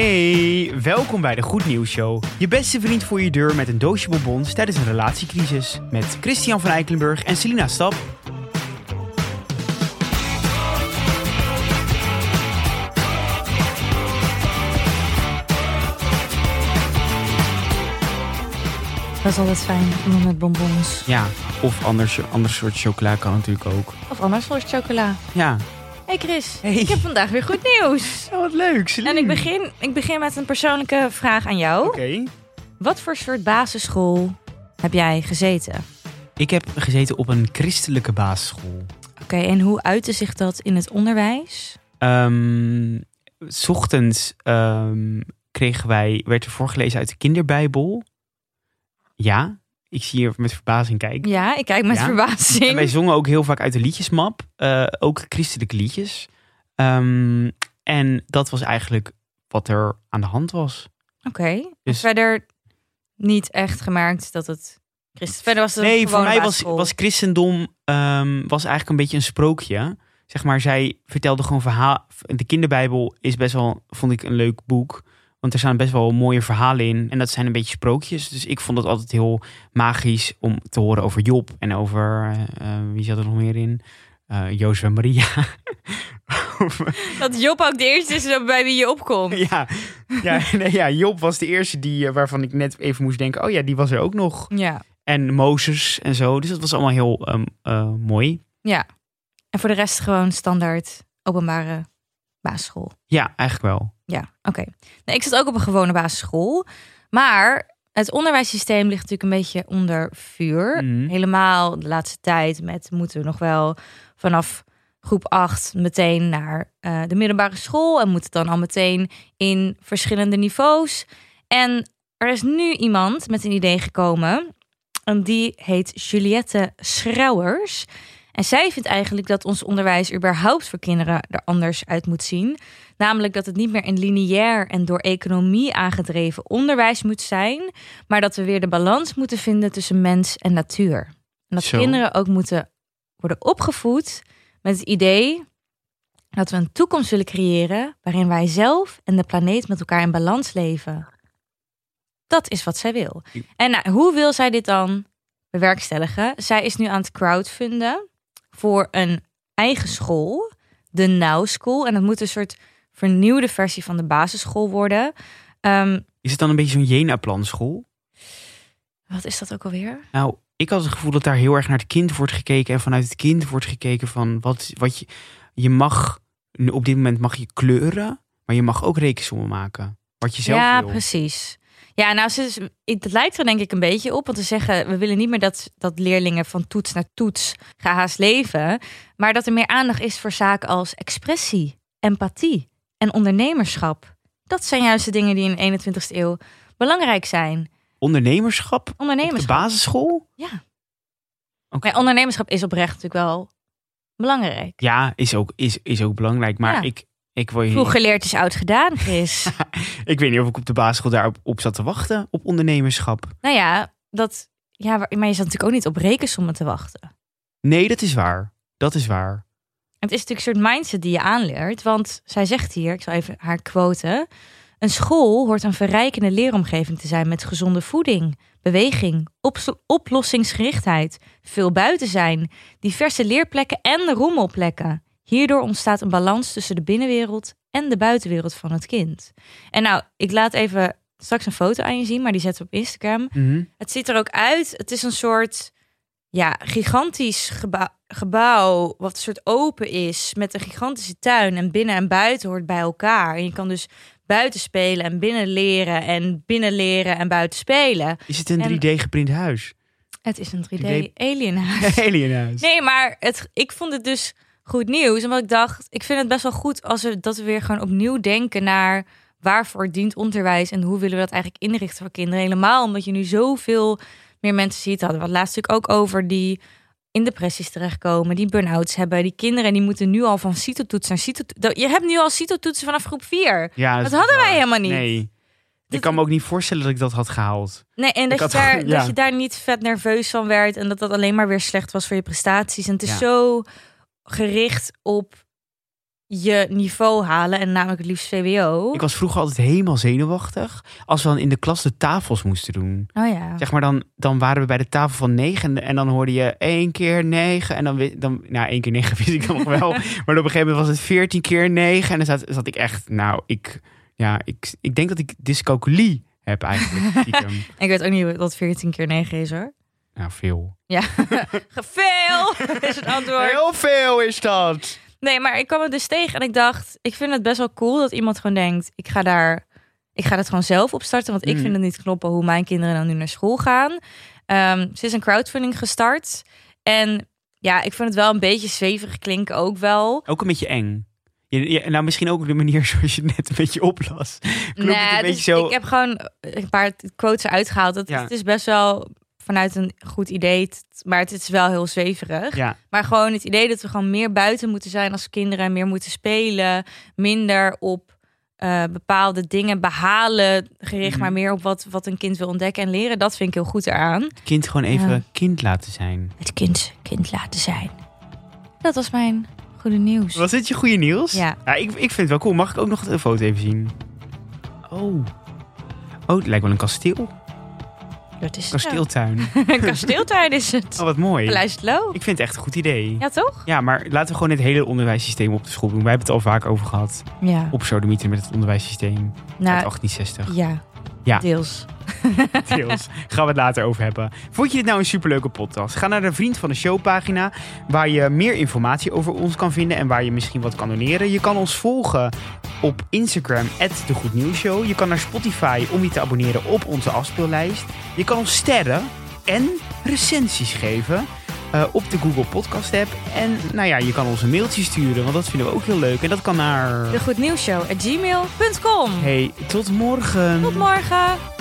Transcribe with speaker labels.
Speaker 1: Hey, welkom bij de Goed Nieuws Show. Je beste vriend voor je deur met een doosje bonbons tijdens een relatiecrisis. Met Christian van Eikelenburg en Selina Stap.
Speaker 2: Dat is altijd fijn, iemand met bonbons.
Speaker 1: Ja, of anders, anders soort chocola kan natuurlijk ook.
Speaker 2: Of anders soort chocola.
Speaker 1: Ja.
Speaker 2: Hey Chris,
Speaker 1: Hey.
Speaker 2: ik heb vandaag weer goed nieuws.
Speaker 1: Oh, wat leuk,
Speaker 2: En ik begin, ik begin met een persoonlijke vraag aan jou.
Speaker 1: Oké.
Speaker 2: Wat voor soort basisschool heb jij gezeten? Oké,
Speaker 1: Ik heb gezeten op een christelijke basisschool.
Speaker 2: en hoe uitte zich dat in het onderwijs?
Speaker 1: Ehm, s ochtends ehm, kregen wij, werd er voorgelezen uit de kinderbijbel. Ja, ik zie je met verbazing kijken.
Speaker 2: Ja, ik kijk met
Speaker 1: Ja. En
Speaker 2: verbazing.
Speaker 1: wij zongen ook heel vaak uit de liedjesmap, eh, ook christelijke liedjes. Ehm, en dat was eigenlijk wat er aan de hand was.
Speaker 2: Oké,
Speaker 1: Dus-
Speaker 2: verder niet echt gemerkt dat het... Christus, verder was het een
Speaker 1: Nee, voor
Speaker 2: gewone
Speaker 1: mij was,
Speaker 2: basisschool.
Speaker 1: was christendom ehm, was eigenlijk een beetje een sprookje. Zeg maar, zij vertelde gewoon verhaal. De kinderbijbel is best wel, vond ik, een leuk boek. Want er staan best wel mooie verhalen in. En dat zijn een beetje sprookjes. Dus ik vond het altijd heel magisch om te horen over Job. En over, eh, eh, wie zat er nog meer in? Eh Jozef en Maria.
Speaker 2: Dat Job ook de eerste is bij wie je opkomt.
Speaker 1: Ja, ja, nee, ja, Job was de eerste die, eh, waarvan ik net even moest denken: oh ja, die was er ook nog.
Speaker 2: Ja.
Speaker 1: En Mozes en zo. Dus dat was allemaal heel ehm, eh, mooi.
Speaker 2: En voor de rest gewoon standaard openbare basisschool.
Speaker 1: Ja, eigenlijk wel.
Speaker 2: Ja, oké. Nee, ik zat ook op een gewone basisschool. Maar het onderwijssysteem ligt natuurlijk een beetje onder vuur.
Speaker 1: Mhm.
Speaker 2: Helemaal de laatste tijd met moeten we nog wel vanaf groep 8 meteen naar eh, de middelbare school. En moet het dan al meteen in verschillende niveaus. En er is nu iemand met een idee gekomen. En die heet Juliette Schrouwers. En zij vindt eigenlijk dat ons onderwijs überhaupt voor kinderen er anders uit moet zien. Namelijk dat het niet meer een lineair en door economie aangedreven onderwijs moet zijn, maar dat we weer de balans moeten vinden tussen mens en natuur. En dat
Speaker 1: Zo.
Speaker 2: kinderen ook moeten worden opgevoed met het idee dat we een toekomst willen creëren waarin wij zelf en de planeet met elkaar in balans leven. Dat is wat zij wil.
Speaker 1: Ik-
Speaker 2: En nou, hoe wil zij dit dan bewerkstelligen? Zij is nu aan het crowdfunden voor een eigen school, de Now School. En dat moet een soort vernieuwde versie van de basisschool worden. Ehm,
Speaker 1: Is het dan een beetje zo'n Jena-plan school?
Speaker 2: wat is dat ook alweer?
Speaker 1: Nou, ik had het gevoel dat daar heel erg naar het kind wordt gekeken. En vanuit het kind wordt gekeken van wat, wat je, je mag, op dit moment mag je kleuren, maar je mag ook rekensommen maken. Wat je zelf
Speaker 2: ja,
Speaker 1: wil.
Speaker 2: precies. Ja, nou, ze is, het lijkt er denk ik een beetje op. Want te zeggen, we willen niet meer dat, dat leerlingen van toets naar toets gehaast leven. Maar dat er meer aandacht is voor zaken als expressie, empathie en ondernemerschap. Dat zijn juist de dingen die in de 21ste eeuw belangrijk zijn.
Speaker 1: Ondernemerschap? op de
Speaker 2: Ondernemerschap.
Speaker 1: basisschool?
Speaker 2: Ja.
Speaker 1: Oké.
Speaker 2: Maar ondernemerschap is oprecht natuurlijk wel belangrijk.
Speaker 1: Ja, is ook, is, is ook belangrijk. Maar
Speaker 2: Ja.
Speaker 1: ik, ik wil je
Speaker 2: Vroeg geleerd is oud gedaan, Chris.
Speaker 1: Ik weet niet of ik op de basisschool daarop op zat te wachten, op ondernemerschap.
Speaker 2: nou ja, dat, ja, maar je zat natuurlijk ook niet op rekensommen te wachten.
Speaker 1: Nee, dat is waar. Dat is waar.
Speaker 2: Het is natuurlijk een soort mindset die je aanleert. Want zij zegt hier, ik zal even haar quoten. Een school hoort een verrijkende leeromgeving te zijn met gezonde voeding, beweging, ops- oplossingsgerichtheid, veel buiten zijn, diverse leerplekken en rommelplekken. Hierdoor ontstaat een balans tussen de binnenwereld en de buitenwereld van het kind. En nou, ik laat even straks een foto aan je zien, maar die zetten we op Instagram.
Speaker 1: Mhm.
Speaker 2: Het ziet er ook uit. Het is een soort ja, gigantisch geba- gebouw. Wat een soort open is. Met een gigantische tuin. En binnen en buiten hoort bij elkaar. En je kan dus buiten spelen en binnen leren. En binnen leren en buiten spelen.
Speaker 1: Is het een
Speaker 2: En-
Speaker 1: 3D geprint huis?
Speaker 2: Het is een
Speaker 1: Idee-
Speaker 2: 3D alienhuis.
Speaker 1: Alienhuis.
Speaker 2: Nee, maar het, ik vond het dus goed nieuws. Omdat ik dacht, ik vind het best wel goed als we, dat we weer gewoon opnieuw denken naar waarvoor dient onderwijs en hoe willen we dat eigenlijk inrichten voor kinderen. Helemaal omdat je nu zoveel meer mensen ziet. Hadden we het laatst natuurlijk ook over die in depressies terechtkomen, die burn-outs hebben. Die kinderen die moeten nu al van CITO-toets naar CITO-toets. Je hebt nu al CITO-toetsen vanaf groep 4.
Speaker 1: Ja,
Speaker 2: Dat
Speaker 1: is
Speaker 2: hadden
Speaker 1: waar.
Speaker 2: wij helemaal niet.
Speaker 1: Nee. Ik
Speaker 2: Dat-
Speaker 1: kan me ook niet voorstellen dat ik dat had gehaald.
Speaker 2: Nee, en dat, je
Speaker 1: had
Speaker 2: daar,
Speaker 1: gewoon- ja.
Speaker 2: dat je daar niet vet nerveus van werd. En dat dat alleen maar weer slecht was voor je prestaties. En het is
Speaker 1: Ja.
Speaker 2: zo gericht op je niveau halen. En namelijk het liefst VWO.
Speaker 1: Ik was vroeger altijd helemaal zenuwachtig als we dan in de klas de tafels moesten doen.
Speaker 2: Oh ja.
Speaker 1: Zeg maar dan, dan waren we bij de tafel van negen en, en dan hoorde je één keer negen. En dan, wi- dan nou één keer negen wist ik dan nog wel. Maar op een gegeven moment was het veertien keer negen. En dan zat, zat ik echt, nou ik, ja, ik, ik denk dat ik dyscalculie heb eigenlijk. stiekem.
Speaker 2: Ik weet ook niet wat 14 keer 9 is hoor.
Speaker 1: nou veel.
Speaker 2: Ja, veel is het antwoord.
Speaker 1: Heel veel is dat.
Speaker 2: Nee, maar ik kwam het dus tegen en ik dacht, ik vind het best wel cool dat iemand gewoon denkt, ik ga daar, ik ga dat gewoon zelf opstarten, want ik
Speaker 1: Mm.
Speaker 2: vind het niet kloppen hoe mijn kinderen nou nu naar school gaan. Ehm, ze is een crowdfunding gestart en ja, ik vind het wel een beetje zweverig klinken ook wel.
Speaker 1: Ook een beetje eng. Je, je- nou, misschien ook de manier zoals je het net een beetje oplas. Klopt
Speaker 2: Nee,
Speaker 1: het een
Speaker 2: dus
Speaker 1: beetje zo.
Speaker 2: Ik heb gewoon een paar t- quotes eruit gehaald. Dat
Speaker 1: Ja.
Speaker 2: Het is best wel vanuit een goed idee, t- maar het is wel heel zweverig.
Speaker 1: Ja,
Speaker 2: Maar gewoon het idee dat we gewoon meer buiten moeten zijn als kinderen, meer moeten spelen, minder op eh, bepaalde dingen behalen, gericht
Speaker 1: Mhm.
Speaker 2: maar meer op wat, wat een kind wil ontdekken en leren. Dat vind ik heel goed eraan.
Speaker 1: het kind gewoon even
Speaker 2: Ja.
Speaker 1: kind laten zijn.
Speaker 2: Het kind kind laten zijn. Dat was mijn goede nieuws.
Speaker 1: Was dit je goede nieuws?
Speaker 2: Ja.
Speaker 1: ik, ik vind het wel cool. Mag ik ook nog een foto even zien? Oh. Oh, het lijkt wel een kasteel.
Speaker 2: Dat is het nou.
Speaker 1: Kasteeltuin.
Speaker 2: Een kasteeltuin is het.
Speaker 1: Oh, wat mooi.
Speaker 2: Luistert Lo.
Speaker 1: Ik vind het echt een goed idee.
Speaker 2: Ja, toch?
Speaker 1: Ja, maar laten we gewoon het hele onderwijssysteem op de school doen. Wij hebben het al vaak over gehad.
Speaker 2: Ja.
Speaker 1: Op sodomieten met het onderwijssysteem uit
Speaker 2: Nou,
Speaker 1: 1860.
Speaker 2: ja.
Speaker 1: Ja.
Speaker 2: Deels.
Speaker 1: Deels. Gaan we het later over hebben. Vond je dit nou een superleuke podcast? Ga naar de Vriend van de Show pagina. Waar je meer informatie over ons kan vinden. En waar je misschien wat kan doneren. Je kan ons volgen op Instagram. De Goed Nieuws Show. Je kan naar Spotify om je te abonneren op onze afspeellijst. Je kan ons sterren en recensies geven. eh, op de Google Podcast app. En nou ja, je kan ons een mailtje sturen. Want dat vinden we ook heel leuk. En dat kan naar...
Speaker 2: De Goed Nieuws Show at gmail.com.
Speaker 1: Hey, tot morgen.
Speaker 2: Tot morgen.